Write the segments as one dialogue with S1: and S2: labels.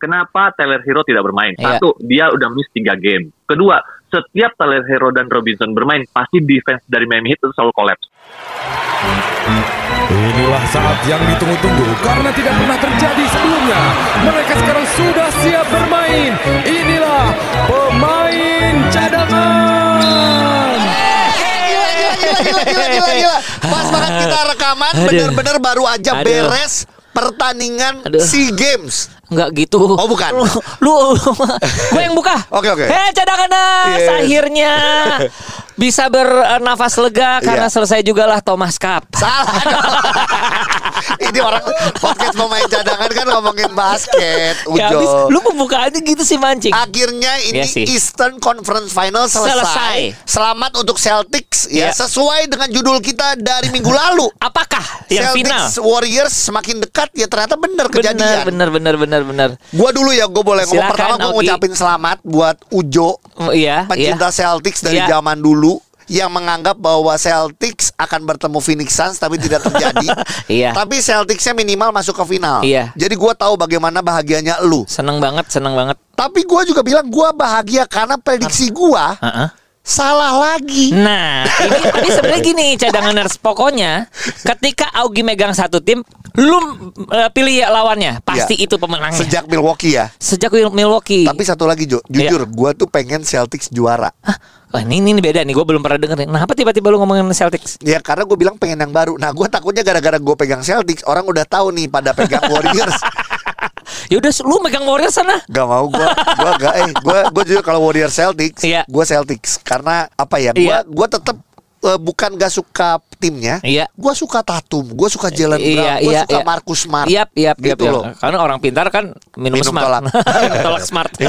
S1: kenapa Tyler Hero tidak bermain?
S2: Iya.
S1: Satu, dia udah miss 3 game. Kedua, setiap Tyler Hero dan Robinson bermain, pasti defense dari Miami Heat itu selalu collapse.
S3: Inilah saat yang ditunggu-tunggu karena tidak pernah terjadi sebelumnya. Mereka sekarang sudah siap bermain. Inilah pemain cadangan.
S4: Gila, gila, gila, gila, gila, gila, gila. Pas banget kita rekaman,
S2: Aduh.
S4: bener-bener baru aja
S2: Aduh.
S4: beres pertandingan
S2: Aduh.
S4: SEA Games.
S2: Enggak gitu.
S4: Oh, bukan.
S2: Lu, lu gue yang buka.
S4: Oke, oke.
S2: Hei cadanganas,
S4: Yes.
S2: akhirnya bisa bernafas lega karena
S4: Iya.
S2: selesai juga lah Thomas Cup.
S4: Salah dong. Ini orang podcast pemain cadangan kan ngomongin basket,
S2: Ya, habis
S4: Ujo.
S2: lu pembukaannya gitu sih mancing.
S4: Akhirnya
S2: Iya
S4: ini
S2: sih.
S4: Eastern Conference Final selesai.
S2: Selesai.
S4: Selamat untuk Celtics ya
S2: Iya.
S4: sesuai dengan judul kita dari minggu lalu.
S2: Apakah yang final?
S4: Celtics Warriors semakin dekat ya ternyata bener kejadian.
S2: Bener, bener, bener, bener, bener.
S4: Gua dulu ya, gue boleh ngomong
S2: Silakan,
S4: pertama gue
S2: Ogi.
S4: ngucapin selamat buat Ujo,
S2: Oh, Iya, iya.
S4: pencinta Celtics dari
S2: Iya.
S4: zaman dulu yang menganggap bahwa Celtics akan bertemu Phoenix Suns tapi tidak terjadi.
S2: Iya.
S4: Tapi Celticsnya minimal masuk ke final.
S2: Iya.
S4: Jadi gua tahu bagaimana bahagianya lu.
S2: Seneng banget, seneng banget.
S4: Tapi gua juga bilang gua bahagia karena prediksi gua
S2: Heeh.
S4: salah lagi.
S2: Nah, ini tadi sebenarnya gini cadanganers pokoknya ketika Augie megang satu tim, lu eh, pilih ya lawannya, pasti
S4: Iya.
S2: itu pemenangnya. Sejak
S4: Sejak Milwaukee ya.
S2: Sejak Wil- Milwaukee.
S4: Tapi satu lagi Jo,
S2: Iya.
S4: jujur gua tuh pengen Celtics juara.
S2: Hah? Wah, ini, ini beda nih, gue belum pernah denger nih. Kenapa tiba-tiba lu ngomongin Celtics?
S4: Ya karena gue bilang pengen yang baru. Nah gue takutnya gara-gara gue pegang Celtics orang udah tahu nih pada pegang Warriors.
S2: Ya udah lu megang Warriors sana.
S4: Gak mau gua gua gak eh gua gua jujur kalau Warrior Celtics,
S2: Iya.
S4: gua Celtics karena apa ya? Gua
S2: Iya.
S4: gua tetap bukan gak suka timnya.
S2: Iya.
S4: Gua suka Tatum, gua suka Jalen Brown, gua suka Marcus Smart.
S2: Iya, iya, iya.
S4: Gitu loh.
S2: Karena orang pintar kan minum,
S4: Minum
S2: smart.
S4: tolak. Iya.
S2: Minum tolak smart.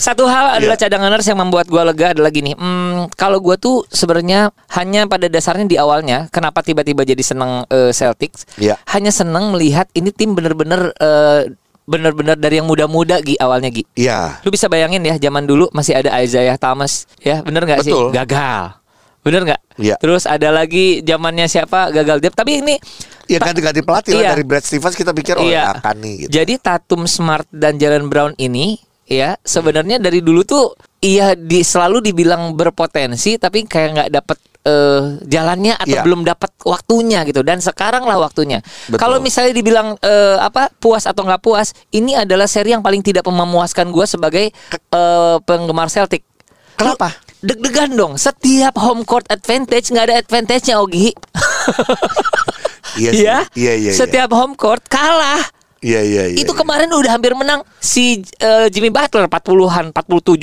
S2: Satu hal adalah cadanganers yang membuat gua lega adalah gini. Hmm, kalau gua tuh sebenarnya hanya pada dasarnya di awalnya kenapa tiba-tiba jadi seneng eh, Celtics?
S4: Iya.
S2: Hanya seneng melihat ini tim bener-bener eh, bener-bener dari yang muda-muda Gi awalnya Gi.
S4: Iya.
S2: Lu bisa bayangin ya zaman dulu masih ada Isaiah Thomas ya bener nggak sih
S4: Betul.
S2: gagal bener nggak
S4: Iya.
S2: terus ada lagi zamannya siapa gagal Depp tapi ini
S4: Ya
S2: ta-
S4: ganti-ganti pelatih
S2: Iya.
S4: lah dari Brad Stevens kita pikir oh
S2: Iya.
S4: ya akan nih gitu.
S2: Jadi Tatum Smart dan Jalen Brown ini ya sebenarnya dari dulu tuh iya di, selalu dibilang berpotensi tapi kayak nggak dapet eh, jalannya atau
S4: Iya.
S2: belum dapat waktunya gitu dan sekarang lah waktunya.
S4: Betul.
S2: Kalau misalnya dibilang eh, apa puas atau nggak puas, ini adalah seri yang paling tidak memuaskan gue sebagai eh, penggemar Celtic.
S4: Kenapa?
S2: Lu Deg-degan dong. Setiap home court advantage nggak ada advantage-nya Ogi. Ya?
S4: Iya sih. Iya, iya, iya.
S2: Setiap home court kalah
S4: Iya iya iya.
S2: itu
S4: iya.
S2: kemarin udah hampir menang si eh, Jimmy Butler 40-an 47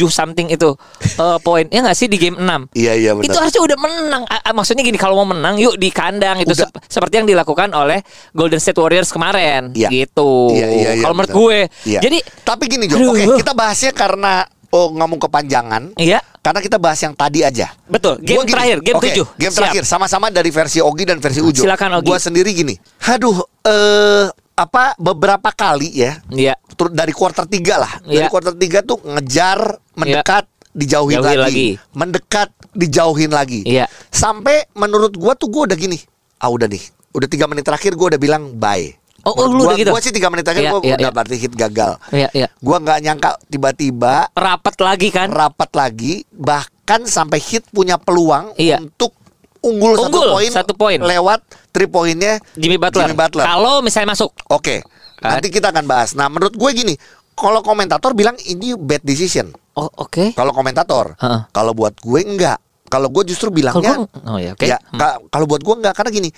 S2: something itu eh, poin ya nggak sih di game 6
S4: Iya iya benar.
S2: itu harusnya udah menang A- a- maksudnya gini kalau mau menang yuk di kandang itu
S4: Udah.
S2: sep- seperti yang dilakukan oleh Golden State Warriors kemarin
S4: Iya.
S2: gitu
S4: Iya, iya, iya,
S2: kalau menurut
S4: benar.
S2: gue
S4: Iya.
S2: jadi
S4: tapi gini Jo,
S2: Aduh.
S4: oke kita bahasnya karena oh ngomong kepanjangan.
S2: Iya.
S4: Karena kita bahas yang tadi aja.
S2: Betul, game
S4: Gua gini,
S2: terakhir, game
S4: oke,
S2: 7.
S4: Game
S2: Siap.
S4: terakhir sama-sama dari versi Ogi dan versi Ujo.
S2: Silakan, Ogi.
S4: Gua sendiri gini. Aduh, eh apa beberapa kali ya?
S2: Iya.
S4: Ter- dari quarter 3 lah. Dari
S2: Iya.
S4: quarter 3 tuh ngejar, mendekat,
S2: Ya.
S4: dijauhin
S2: Jauhin
S4: lagi.
S2: lagi.
S4: Mendekat, dijauhin lagi.
S2: Iya.
S4: Sampai menurut gua tuh gua udah gini. Ah udah nih. Udah tiga menit terakhir gua udah bilang bye.
S2: Oh, oh, lu
S4: Gua-
S2: udah gitu?
S4: Gua sih tiga menit
S2: Iya,
S4: terakhir gua
S2: iya,
S4: udah
S2: iya.
S4: berarti hit gagal.
S2: Iya, iya.
S4: Gua nggak nyangka tiba-tiba
S2: rapat lagi kan
S4: rapat lagi bahkan sampai hit punya peluang
S2: Iya.
S4: untuk unggul,
S2: Unggul,
S4: satu poin
S2: satu poin.
S4: lewat three poinnya
S2: Jimmy Butler,
S4: Jimmy Butler.
S2: kalau Kan? misalnya masuk
S4: Oke, nanti kita akan bahas. Nah, menurut gue gini, kalau komentator bilang ini bad decision.
S2: oh oke
S4: Kalau komentator,
S2: Heeh.
S4: kalau buat gue enggak. Kalau gue justru
S2: Kalau
S4: bilangnya,
S2: gue- oh ya, oke. Hmm.
S4: ka- kalau buat gue enggak karena gini,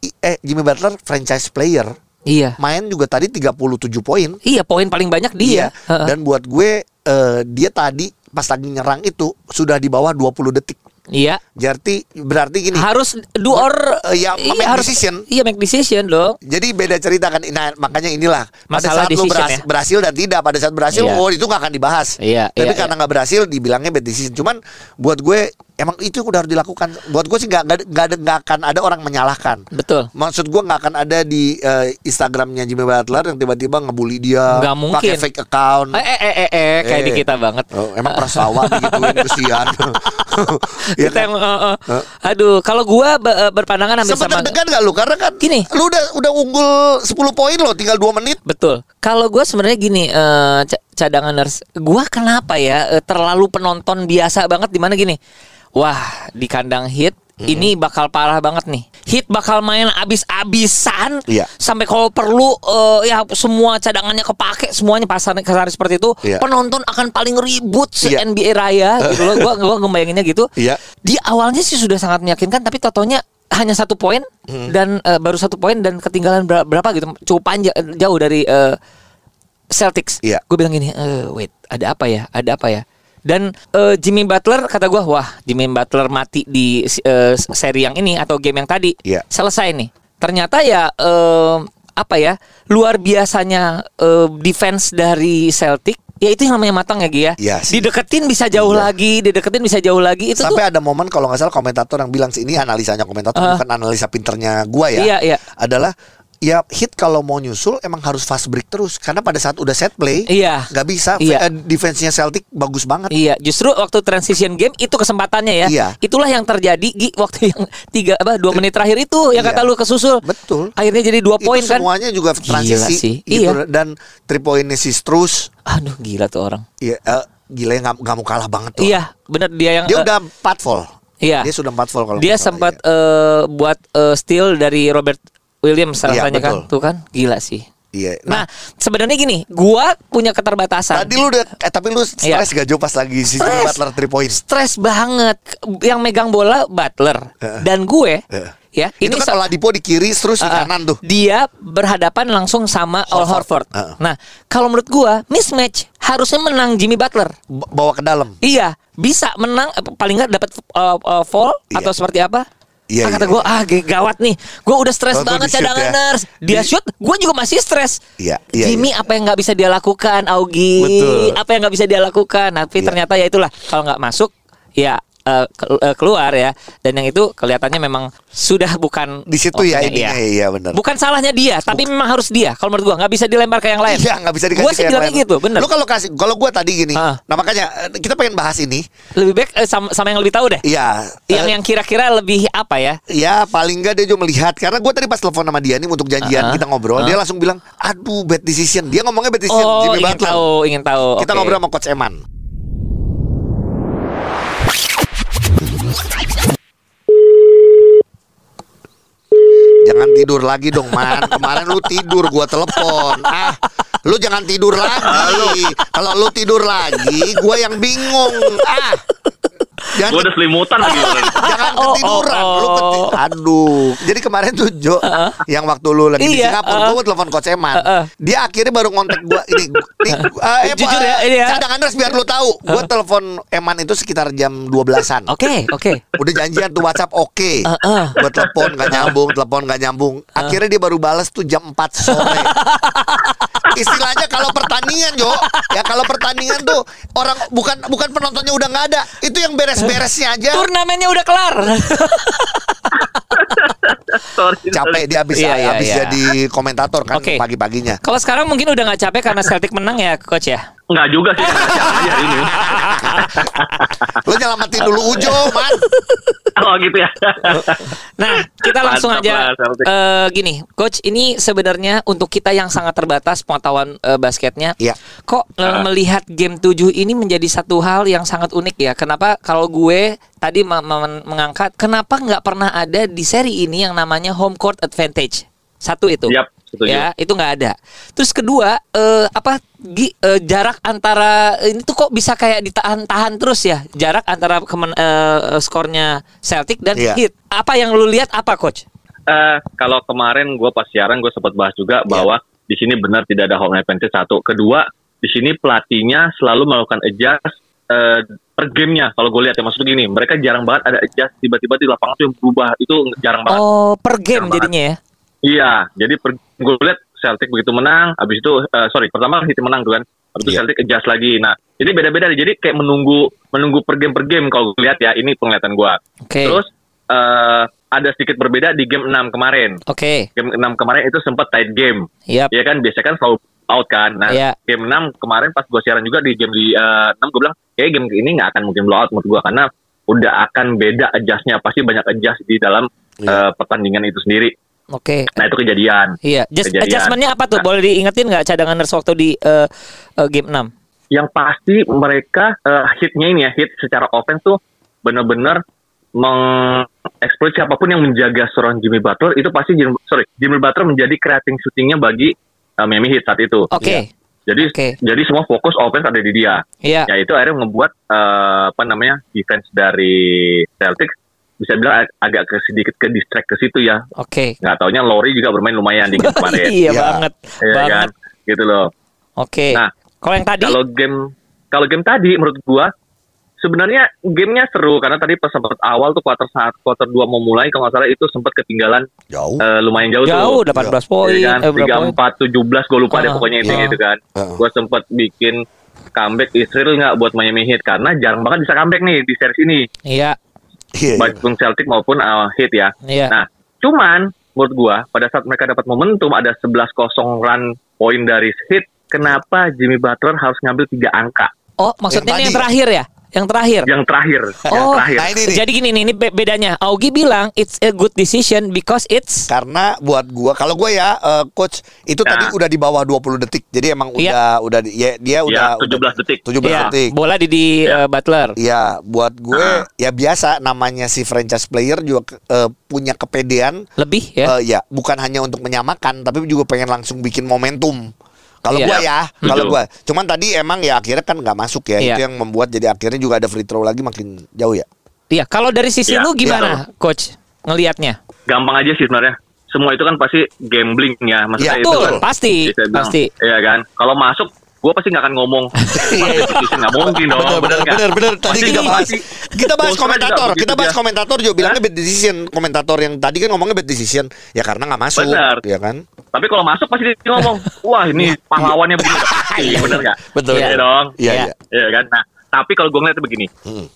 S4: i- eh Jimmy Butler franchise player,
S2: iya
S4: main juga tadi 37 poin.
S2: iya poin paling banyak dia
S4: Iya.
S2: Heeh.
S4: Dan buat gue eh, dia tadi pas lagi nyerang itu sudah di bawah 20 detik.
S2: iya
S4: Jadi berarti gini.
S2: harus do or
S4: Eh, ya, make decision.
S2: iya make decision dong
S4: Jadi beda cerita kan. Nah, makanya inilah
S2: Masalah
S4: pada saat lu
S2: decision
S4: berhas-
S2: ya?
S4: berhasil dan tidak pada saat berhasil
S2: Iya.
S4: oh itu nggak akan dibahas.
S2: Iya, iya,
S4: Tapi karena nggak berhasil dibilangnya bad decision. Cuman buat gue emang itu udah harus dilakukan. Buat gue sih nggak nggak nggak ada- nggak akan ada orang menyalahkan.
S2: Betul.
S4: Maksud gue nggak akan ada di eh, Instagramnya Jimmy Butler yang tiba-tiba ngebully dia.
S2: Nggak mungkin.
S4: Pakai fake account.
S2: Eh eh eh eh, eh, kayak
S4: Eh.
S2: di kita banget.
S4: Oh, emang prastawa digituin kesian. Iya
S2: Kita
S4: kan?
S2: emang, eh, eh. Aduh, kalau gua be- eh, berpandangan hampir
S4: Sempet
S2: sama.
S4: deg-degan gak lu karena kan
S2: Gini.
S4: lu udah udah unggul 10 poin lo tinggal 2 menit.
S2: Betul. Kalau gua sebenarnya gini, eh ca- cadanganers, gua kenapa ya eh, terlalu penonton biasa banget di mana gini? Wah, di kandang hit
S4: Hmm.
S2: ini bakal parah banget nih. Hit bakal main abis-abisan
S4: Iya.
S2: sampai kalau perlu eh, ya semua cadangannya kepake, semuanya pasar kasar seperti itu.
S4: Iya.
S2: Penonton akan paling ribut se
S4: Iya.
S2: NBA raya gitu loh. Gua gua ngebayanginnya gitu.
S4: Iya.
S2: Di awalnya sih sudah sangat meyakinkan tapi totonya hanya satu poin
S4: Hmm.
S2: dan eh, baru satu poin dan ketinggalan ber- berapa gitu cukup panjang eh, jauh dari eh, Celtics.
S4: Iya.
S2: Gue bilang gini, "Eh, wait, ada apa ya? Ada apa ya? Dan eh, Jimmy Butler kata gua, wah Jimmy Butler mati di eh, seri yang ini atau game yang tadi.
S4: Iya.
S2: Selesai nih. Ternyata ya eh, apa ya? Luar biasanya eh, defense dari Celtic ya itu yang namanya matang ya Gia.
S4: Iya sih.
S2: dideketin bisa jauh lagi, dideketin bisa jauh lagi itu
S4: Iya. Sampai
S2: tuh.
S4: ada momen kalau nggak salah komentator yang bilang sih ini analisanya komentator
S2: Ah.
S4: bukan analisa pinternya gua ya.
S2: Iya, iya.
S4: Adalah ya hit kalau mau nyusul emang harus fast break terus karena pada saat udah set play
S2: Iya.
S4: nggak bisa
S2: Iya.
S4: Eh, defense-nya Celtic bagus banget.
S2: Iya, justru waktu transition game itu kesempatannya ya.
S4: Iya.
S2: Itulah yang terjadi Gi, waktu yang tiga apa dua menit terakhir itu yang
S4: Iya.
S2: kata lu kesusul.
S4: Betul.
S2: Akhirnya jadi dua
S4: Itu
S2: poin kan.
S4: semuanya juga transisi
S2: sih.
S4: gitu.
S2: Iya.
S4: dan three pointnya si Strus
S2: Aduh gila tuh orang.
S4: ya eh, gila ya, nggak nggak mau kalah banget tuh.
S2: Iya, benar dia yang eh,
S4: Dia udah empat vol.
S2: Iya.
S4: Dia sudah empat vol kalau
S2: dia
S4: nggak salah,
S2: sempat
S4: iya.
S2: eh, buat eh, steal dari Robert Williams
S4: Iya,
S2: rasanya kan.
S4: betul.
S2: Tuh kan gila sih.
S4: Iya. Nah,
S2: Nah, sebenarnya gini, gua punya keterbatasan.
S4: tadi lu udah eh, tapi lu stres
S2: Iya.
S4: gak Jo pas lagi si Jimmy
S2: Stres.
S4: Butler three point.
S2: Stres banget yang megang bola Butler
S4: Heeh.
S2: dan gue
S4: Heeh.
S2: ya. Ini
S4: Itu
S2: so-
S4: kan Oladipo di kiri terus di
S2: Uh-uh.
S4: kanan tuh.
S2: Dia berhadapan langsung sama Al Horford.
S4: Horford. Uh-uh.
S2: Nah, kalau menurut gua mismatch harusnya menang Jimmy Butler.
S4: B- bawa ke dalam.
S2: Iya, bisa menang eh, paling nggak dapat uh, uh, foul
S4: Iya.
S2: atau seperti apa?
S4: Iya,
S2: Ah, kata
S4: iya,
S2: gua ah ge- gawat nih. Gua udah stres
S4: Waktu
S2: banget
S4: di shoot ya.
S2: cadanganers. Dia
S4: Di-
S2: shoot, gua juga masih stres.
S4: Iya, iya,
S2: Jimmy
S4: iya.
S2: apa yang nggak bisa dia lakukan, Augie?
S4: Betul.
S2: Apa yang nggak bisa dia lakukan? Tapi
S4: Iya.
S2: ternyata ya itulah kalau nggak masuk ya eh, ke- eh, keluar ya dan yang itu kelihatannya memang sudah bukan
S4: Di situ ya
S2: waktunya.
S4: intinya.
S2: Iya.
S4: Iya, benar.
S2: Bukan salahnya dia, tapi memang harus dia. Kalau menurut gua nggak bisa dilempar ke yang lain.
S4: Iya, nggak bisa dikasih
S2: Gua sih
S4: ke yang
S2: bilangnya
S4: lain.
S2: gitu, bener.
S4: Lu kalau kasih kalau gua tadi gini.
S2: Ah.
S4: Nah, makanya eh, kita pengen bahas ini.
S2: Lebih baik eh, sama, sama yang lebih tahu deh.
S4: Iya.
S2: Yang
S4: eh,
S2: yang kira-kira lebih apa ya?
S4: Ya paling nggak dia juga melihat Karena gue tadi pas telepon sama dia nih Untuk janjian
S2: Uh-uh.
S4: kita ngobrol Dia langsung bilang Aduh bad decision Dia ngomongnya bad decision
S2: Oh,
S4: Iya, Jimmy
S2: ingin
S4: Butler
S2: tahu, ingin tahu.
S4: Kita
S2: Oke.
S4: ngobrol sama Coach Eman Jangan tidur lagi dong man Kemarin lu tidur gua telepon Ah Lu jangan tidur lagi Kalau lu tidur lagi gua yang bingung Ah Jangan
S1: Gue udah selimutan lagi.
S4: Jangan
S2: Oh,
S4: ketiduran
S2: oh,
S4: lu keti-
S2: oh.
S4: Aduh Jadi kemarin tuh Jo Yang waktu lu lagi di
S2: Iya,
S4: Singapura
S2: uh-uh.
S4: Gue telepon Coach Eman
S2: Uh-uh.
S4: Dia akhirnya baru ngontek gue Ini ini, eh, eh,
S2: Jujur
S4: eh,
S2: ya, ini ya.
S4: Cadangan Res, biar lu tahu Gue telepon Eman itu sekitar jam 12an
S2: Oke, oke.
S4: Udah janjian tuh WhatsApp oke
S2: Uh-uh.
S4: Gue telepon gak nyambung Telepon gak nyambung Akhirnya dia baru balas tuh jam 4 sore Istilahnya kalau pertandingan Jo Ya kalau pertandingan tuh Orang bukan bukan penontonnya udah gak ada Itu yang beres-beresnya aja
S2: Turnamennya udah kelar.
S1: Sorry.
S4: capek dia habis
S2: Iya, iya,
S4: habis
S2: iya.
S4: jadi komentator kan
S2: Oke.
S4: pagi-paginya.
S2: Kalau sekarang mungkin udah nggak capek karena Celtic menang ya, coach ya.
S1: Enggak juga sih. kerja aja ini.
S4: Lu nyelamatin dulu Ujo, man.
S1: Oh gitu ya.
S2: Nah, kita langsung
S1: Mantap lah,
S2: aja
S1: Celtic.
S2: eh, gini, coach. Ini sebenarnya untuk kita yang sangat terbatas pengetahuan eh, basketnya.
S4: Iya.
S2: Kok eh,
S1: Ah.
S2: melihat game 7 ini menjadi satu hal yang sangat unik ya? Kenapa kalau gue tadi me- me- mengangkat, kenapa nggak pernah ada di seri ini yang namanya home court advantage? Satu itu.
S1: Yap, setuju.
S2: Ya, itu nggak ada. Terus kedua, eh, apa Gi, eh, jarak antara ini tuh kok bisa kayak ditahan-tahan terus ya? Jarak antara kemen, eh, skornya Celtic dan
S4: Iya.
S2: Heat. Apa yang lu lihat apa coach?
S1: Eh, kalau kemarin gue pas siaran gue sempat bahas juga bahwa di sini benar tidak ada home advantage satu. Kedua, di sini pelatihnya selalu melakukan adjust eh, per gamenya. Kalau gue lihat ya maksud gini, mereka jarang banget ada adjust tiba-tiba di lapangan tuh yang berubah itu jarang banget.
S2: Oh, per game
S1: Jarang banget.
S2: jadinya ya.
S1: Iya, jadi per, gue lihat Celtic begitu menang, habis itu eh, sorry pertama City menang tuh kan, habis itu
S4: Iya.
S1: Celtic adjust lagi. Nah, ini beda-beda nih. Jadi kayak menunggu menunggu per game per game kalau gue lihat ya ini penglihatan gue.
S2: Oke.
S1: Terus eh, ada sedikit berbeda di game 6 kemarin.
S2: Oke.
S1: Game 6 kemarin itu sempat tight game.
S2: Yap.
S1: Iya kan biasanya kan selalu out kan. Nah,
S2: Iya.
S1: game 6 kemarin pas gue siaran juga di game di eh, 6 gue bilang, "Eh game ini nggak akan mungkin blowout menurut gue karena udah akan beda adjustnya pasti banyak adjust di dalam
S2: Iya.
S1: eh, pertandingan itu sendiri.
S2: Oke.
S1: Nah itu kejadian.
S2: Iya, just,
S1: Kejadian. Nah.
S2: adjustmentnya apa tuh? Boleh diingetin nggak cadanganers waktu di eh, eh, game 6?
S1: yang pasti mereka eh, hitnya ini ya hit secara offense tuh benar-benar mengeksploit siapapun yang menjaga seorang Jimmy Butler itu pasti Jimmy, sorry Jimmy Butler menjadi creating shootingnya bagi eh, Miami Heat saat itu.
S2: Oke.
S1: Iya. Jadi
S2: Oke.
S1: jadi semua fokus offense ada di dia.
S2: Iya.
S1: Ya itu akhirnya membuat eh, apa namanya defense dari Celtics bisa bilang ag- agak ke, sedikit ke distract ke situ ya.
S2: Oke.
S1: Nggak taunya Lori juga bermain lumayan di game kemarin.
S2: iya
S4: Ya.
S2: banget,
S1: Iya kan?
S2: banget.
S1: Gitu loh.
S2: Oke.
S1: Nah,
S2: kalau yang tadi,
S1: kalau game kalau game tadi menurut gua sebenarnya gamenya seru karena tadi pas sempat awal tuh quarter saat quarter 2 mau mulai kalau nggak salah itu sempat ketinggalan
S4: Jauh.
S1: eh, lumayan jauh,
S2: jauh
S1: tuh.
S2: 18 poin,
S1: Iya
S2: eh,
S1: kan?
S2: berapa
S1: 34
S2: poin?
S1: 17 gua lupa deh
S2: Ah,
S1: pokoknya itu
S2: iya.
S1: gitu kan.
S4: Ah.
S1: Gua sempat bikin comeback Israel nggak buat Miami Heat karena jarang banget bisa comeback nih di series ini
S2: Iya,
S4: Iya, iya.
S1: baik pun Celtic maupun uh, Heat ya.
S2: Iya.
S1: Nah, cuman menurut gua pada saat mereka dapat momentum ada 11-0 run poin dari Heat, kenapa Jimmy Butler harus ngambil tiga angka?
S2: Oh, maksudnya
S4: Yang
S2: ini yang
S4: tadi.
S2: terakhir ya? Yang terakhir.
S1: yang terakhir yang
S2: Oh,
S1: terakhir
S4: Nah ini nih.
S2: Jadi gini nih, ini be- bedanya. Augie bilang it's a good decision because it's
S4: Karena buat gua kalau gua ya eh, coach itu
S1: Ya.
S4: tadi udah di bawah 20 detik. Jadi emang
S2: Iya.
S4: udah udah di- ya, dia
S1: ya
S4: udah
S1: 17 detik
S4: 17
S2: ya,
S4: detik.
S2: bola di di
S4: Ya.
S1: Iya.
S2: eh, Butler.
S4: Iya, buat gue
S2: Ah.
S4: ya biasa namanya si franchise player juga ke- eh, punya kepedean
S2: Lebih ya.
S4: Eh, ya bukan hanya untuk menyamakan tapi juga pengen langsung bikin momentum kalau
S2: Iya.
S4: gua ya
S1: Setuju.
S4: kalau gua cuman tadi emang ya akhirnya kan nggak masuk ya
S2: Iya.
S4: itu yang membuat jadi akhirnya juga ada free throw lagi makin jauh ya
S2: Iya, kalau dari sisi
S1: Iya,
S2: lu gimana, coach? Ngelihatnya?
S1: gampang aja sih sebenarnya semua itu kan pasti gambling ya maksudnya
S4: Ya,
S1: itu
S2: betul,
S1: kan
S2: pasti,
S1: bisa bilang,
S2: pasti.
S1: iya kan kalau masuk gue pasti nggak akan ngomong
S4: Iya,
S1: Pasti nggak mungkin dong
S4: Bener, bener,
S1: nggak?
S4: bener, bener. Tadi
S1: Pasti-
S4: kita bahas
S1: pasti.
S4: kita bahas
S1: Bosan juga
S4: komentator,
S1: begitu ya.
S4: kita bahas
S1: dia.
S4: komentator juga bilangnya bad decision. Komentator yang tadi kan ngomongnya bad decision, ya karena nggak masuk,
S1: Benar.
S4: ya kan?
S1: tapi kalau masuk pasti dia ngomong wah ini pahlawannya begini iya bener nggak
S4: Betul.
S1: iya dong
S4: Iya, Hmm.
S2: Iya.
S4: iya.
S1: iya kan nah tapi kalau gue ngeliatnya begini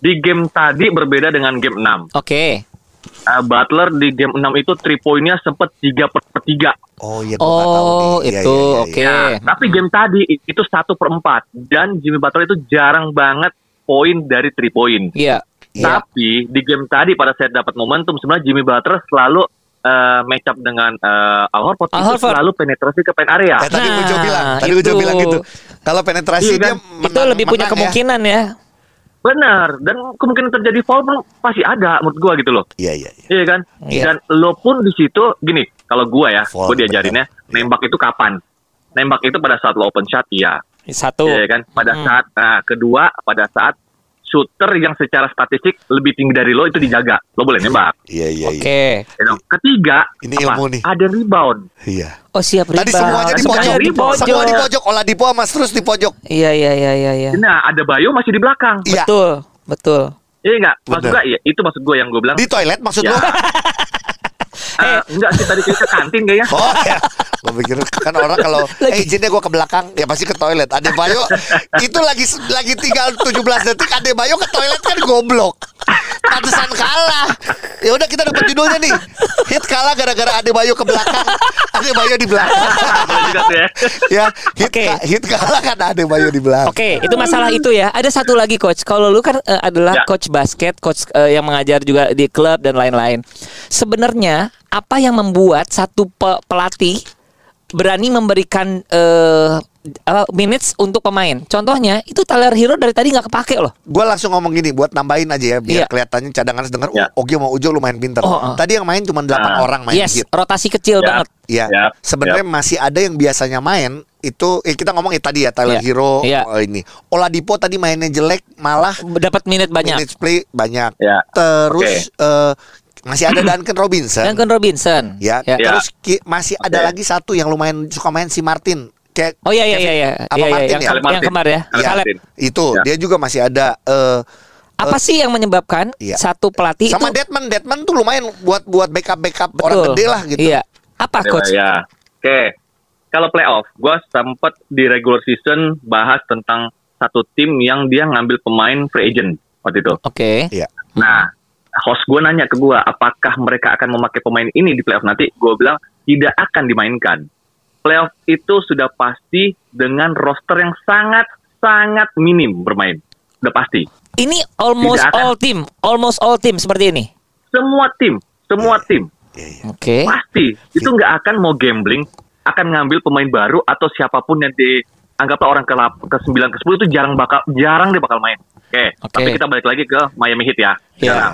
S1: di game tadi berbeda dengan game 6
S2: Oke.
S1: Eh, Butler di game 6 itu 3 poinnya sempat 3 per 3
S4: Oh iya, gua nggak tahu
S2: Oh,
S4: nih.
S2: itu
S4: Iya, iya, iya,
S2: oke.
S4: iya.
S1: Ya, tapi game tadi itu satu per empat dan Jimmy Butler itu jarang banget poin dari three point.
S2: Iya. Iya.
S1: Tapi di game tadi pada saat dapat momentum sebenarnya Jimmy Butler selalu eh, match up dengan eh, Al Horford
S2: Al
S1: itu
S2: Horford.
S1: selalu penetrasi ke pen area.
S4: Eh, tadi
S2: Nah,
S4: Ujo bilang, tadi Ujo
S2: itu.
S4: bilang gitu. Kalau
S1: Iya,
S4: penetrasi
S1: kan?
S4: dia
S2: Itu
S4: menang-
S2: lebih punya
S4: menang ya.
S2: kemungkinan ya.
S1: Benar dan kemungkinan terjadi foul pun pasti ada menurut gua gitu loh.
S4: Iya, iya, iya.
S1: Iya kan?
S2: Iya.
S1: Dan lo pun di situ gini, kalau gua ya,
S4: Foul,
S1: gua diajarinnya nembak itu kapan? Nembak itu pada saat lo open shot, iya.
S2: Satu.
S1: Iya kan? Pada
S2: Hmm.
S1: saat nah, kedua pada saat shooter yang secara statistik lebih tinggi dari lo itu dijaga. Lo boleh nembak.
S4: Iya, iya, iya.
S2: Oke.
S1: You know. Ketiga,
S4: Ini ilmu nih.
S1: ada rebound.
S4: iya.
S2: Oh, siap rebound.
S4: Tadi semuanya di
S2: Semuanya
S4: pojok,
S1: di pojok.
S4: semua di pojok, olah di mas terus di pojok.
S2: Iya, iya, iya, iya, iya.
S1: Nah, ada Bayo masih di belakang.
S4: Iya.
S2: Betul, betul.
S1: Iya enggak? Maksud
S4: Bener.
S1: gua iya, itu maksud gua yang gua bilang.
S4: Di toilet maksud
S1: Ya.
S4: lu?
S1: Eh, enggak sih tadi kita ke kantin kayaknya.
S4: Oh ya. Gue pikir kan orang kalau eh izinnya gue ke belakang ya pasti ke toilet. Ade Bayo itu lagi lagi tinggal 17 detik Ade Bayo ke toilet kan goblok. Pantesan kalah. Ya udah kita dapat judulnya nih. Hit kalah gara-gara Ade Bayo ke belakang. Ade Bayo di belakang.
S1: Boleh juga tuh ya.
S4: ya, hit,
S2: Oke.
S4: ka- hit kalah karena Ade Bayo di belakang.
S2: Oke, itu masalah itu ya. Ada satu lagi coach. Kalau lu kan eh, adalah
S1: Ya.
S2: coach basket, coach eh, yang mengajar juga di klub dan lain-lain. Sebenarnya apa yang membuat satu pe- pelatih berani memberikan eh, apa, minutes untuk pemain? Contohnya itu Tyler Hero dari tadi nggak kepake loh.
S4: Gue langsung ngomong gini buat nambahin aja ya
S2: Iya.
S4: biar kelihatannya cadangan dengar
S1: Iya.
S4: oh, Ogi mau Ujo lumayan pinter.
S2: Oh, oh.
S4: Tadi yang main cuma 8
S1: Ah.
S4: orang main
S2: yes,
S4: hit.
S2: rotasi kecil
S1: Ya.
S2: banget.
S4: Iya.
S1: Yap,
S4: Sebenarnya masih ada yang biasanya main itu eh, kita ngomong eh, tadi ya
S2: Iya.
S4: Tyler Hero
S2: Iya.
S4: eh, ini. Oladipo tadi mainnya jelek malah
S2: Dapat minute banyak.
S4: minutes play banyak.
S1: Iya.
S4: Terus eh, masih ada Duncan Robinson.
S2: Duncan Robinson.
S4: Ya.
S2: Ya.
S1: Iya.
S4: Terus ki- masih
S1: Oke.
S4: ada lagi satu yang lumayan suka main si Martin. Kayak
S2: Oh iya iya
S4: Kevin-
S2: iya iya.
S4: Apa
S2: Iya, iya,
S4: Martin
S2: yang,
S4: ya?
S1: Caleb
S2: yang
S1: Martin.
S2: kemarin ya.
S1: Caleb
S4: Iya.
S2: Caleb.
S1: Martin.
S4: Itu
S1: Iya.
S4: dia juga masih ada eh,
S2: Apa sih yang menyebabkan
S4: Iya.
S2: satu pelatih
S4: sama
S2: itu
S4: Deadman. Deadman tuh lumayan buat buat backup backup
S2: Betul.
S4: orang gede lah gitu.
S2: Iya. Apa coach?
S1: Ya. Oke. Kalau playoff, gue sempat di regular season bahas tentang satu tim yang dia ngambil pemain free agent waktu itu.
S2: Oke.
S4: Iya.
S1: Nah, host gue nanya ke gue, apakah mereka akan memakai pemain ini di playoff nanti? Gue bilang tidak akan dimainkan. Playoff itu sudah pasti dengan roster yang sangat sangat minim bermain. udah pasti.
S2: Ini almost
S1: Tidak akan.
S2: all team, almost all team seperti ini.
S1: Semua tim, semua tim
S4: Iya, iya.
S2: Oke.
S1: pasti itu nggak akan mau gambling, akan ngambil pemain baru atau siapapun yang dianggaplah orang ke lap- ke 9 ke 10 itu jarang bakal jarang dia bakal main. Oke,
S2: Oke.
S1: tapi kita balik lagi ke Miami Heat ya.
S2: Iya.
S1: Sekarang,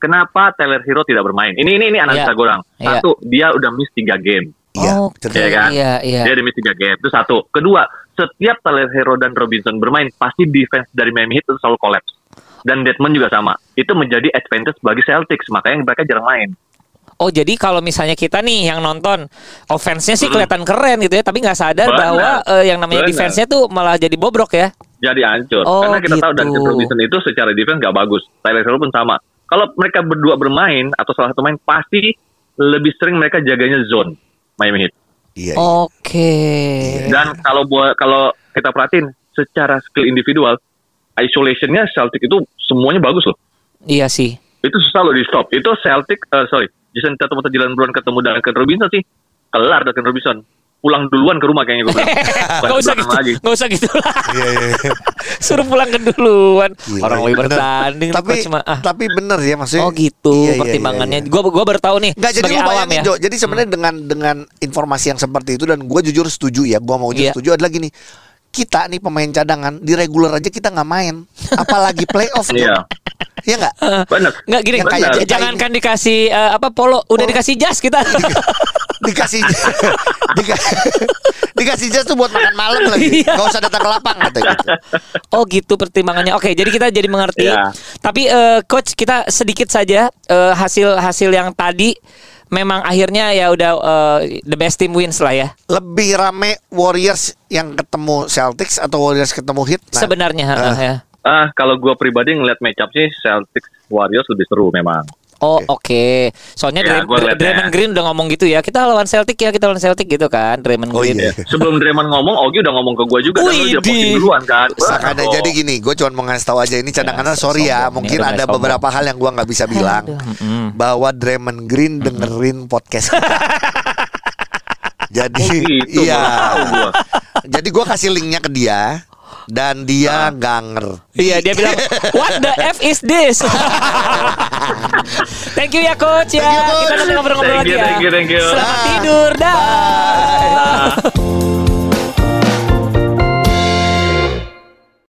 S1: Kenapa Tyler Hero tidak bermain? Ini ini ini analisa
S2: Iya.
S1: gue orang.
S2: Iya.
S1: Satu, dia udah miss 3 game.
S4: Iya,
S2: Oke,
S4: betul.
S1: Iya kan?
S2: Iya, iya.
S1: Dia demi tiga game. Itu satu. Kedua, setiap Tyler Hero dan Robinson bermain, pasti defense dari Miami Heat itu selalu collapse. Dan Deadman juga sama. Itu menjadi advantage bagi Celtics. Makanya mereka jarang main.
S2: Oh, jadi kalau misalnya kita nih yang nonton offense-nya
S4: Hmm.
S2: sih kelihatan keren gitu ya, tapi nggak sadar
S1: Benar.
S2: bahwa eh, yang namanya
S1: Benar.
S2: defense-nya tuh malah jadi bobrok ya.
S1: Jadi hancur.
S2: Oh,
S1: Karena kita tahu
S2: gitu.
S1: dan Robinson itu secara defense nggak bagus. Tyler Hero pun sama. Kalau mereka berdua bermain, atau salah satu main, pasti lebih sering mereka jaganya zone Miami Heat.
S4: Iya,
S2: Oh,
S4: iya.
S2: Oke. Iya.
S1: Dan kalau buat kalau kita perhatiin, secara skill individual, isolation-nya Celtic itu semuanya bagus loh.
S2: Iya sih.
S1: itu susah loh di stop itu Celtic eh, sorry Jason Tatum atau Jalen Brown ketemu Duncan Robinson sih kelar Duncan Robinson pulang duluan ke rumah kayaknya gue bilang Bukan
S2: Gak usah
S1: ke
S2: gitu,
S1: belakang lagi
S2: gak usah gitu lah.
S4: Iya, iya, iya.
S2: Suruh pulang ke duluan.
S4: Gila,
S2: Orang
S4: iya,
S2: lagi
S4: bener.
S2: bertanding
S4: tapi
S2: kok cuma ah.
S4: tapi bener ya maksudnya
S2: Oh gitu
S4: Iya, iya, iya,
S2: pertimbangannya.
S4: iya.
S2: Gua gua baru tahu nih
S4: Nggak jadi
S2: sebagai
S4: lu
S2: awam
S4: bayangin
S2: ya.
S4: Jo. Jadi sebenarnya dengan dengan informasi yang seperti itu dan gue jujur setuju ya. Gue mau
S2: Iya.
S4: jujur setuju adalah gini. Kita nih pemain cadangan di regular aja kita nggak main, apalagi playoff Jo.
S1: Iya.
S4: Iya nggak?
S1: benar
S2: Enggak gini,
S4: Yang kayak
S2: j-
S4: kita ini.
S2: jangankan dikasih eh, apa polo, udah dikasih jas kita.
S4: Dikasih dika- dikasih jas tuh buat makan malam lagi.
S2: Iya.
S4: Gak usah datang ke lapang kata gitu.
S2: oh gitu pertimbangannya. Oke, jadi kita jadi mengerti.
S1: Iya.
S2: Tapi eh, coach kita sedikit saja eh, hasil hasil yang tadi memang akhirnya ya udah eh, the best team wins lah ya.
S4: Lebih rame Warriors yang ketemu Celtics atau Warriors ketemu Heat? Nah,
S2: Sebenarnya ha, ha,
S4: eh,
S2: ya.
S1: ah kalau gue pribadi ngeliat match up sih Celtic Warriors lebih seru memang
S2: Oh oke, soalnya
S1: Ya,
S2: Dray-
S1: gua ngeliatnya.
S2: Draymond Green udah ngomong gitu ya. Kita lawan Celtic ya, kita lawan Celtic gitu kan, Draymond
S4: Oh
S2: Green.
S4: iya.
S1: sebelum Draymond ngomong Ogi udah ngomong ke gue juga dan lu
S2: Wih,
S1: udah posting
S2: di-
S1: duluan kan
S4: Seakan- gitu.
S1: Wah,
S4: Nah, jadi gini, gue cuma mau ngasih tahu aja ini cadangannya
S2: Ya,
S4: sorry ya,
S2: sombong.
S4: mungkin
S2: Ini udah
S4: ada
S2: sombong.
S4: beberapa hal yang gua nggak bisa bilang bahwa Draymond Green dengerin podcast kita. jadi
S1: Oh gitu,
S4: iya,
S1: baru tahu gua.
S4: jadi gua kasih linknya ke dia dan dia nggak ngerti.
S2: Ah. Iya dia bilang What the F is this Thank you ya coach ya
S4: Thank you, Coach.
S2: Kita nanti ngobrol-ngobrol
S1: Thank
S2: ya. lagi
S1: you,
S2: ya
S1: thank you, thank you.
S2: Selamat
S4: Dah.
S2: tidur Dah
S1: ah.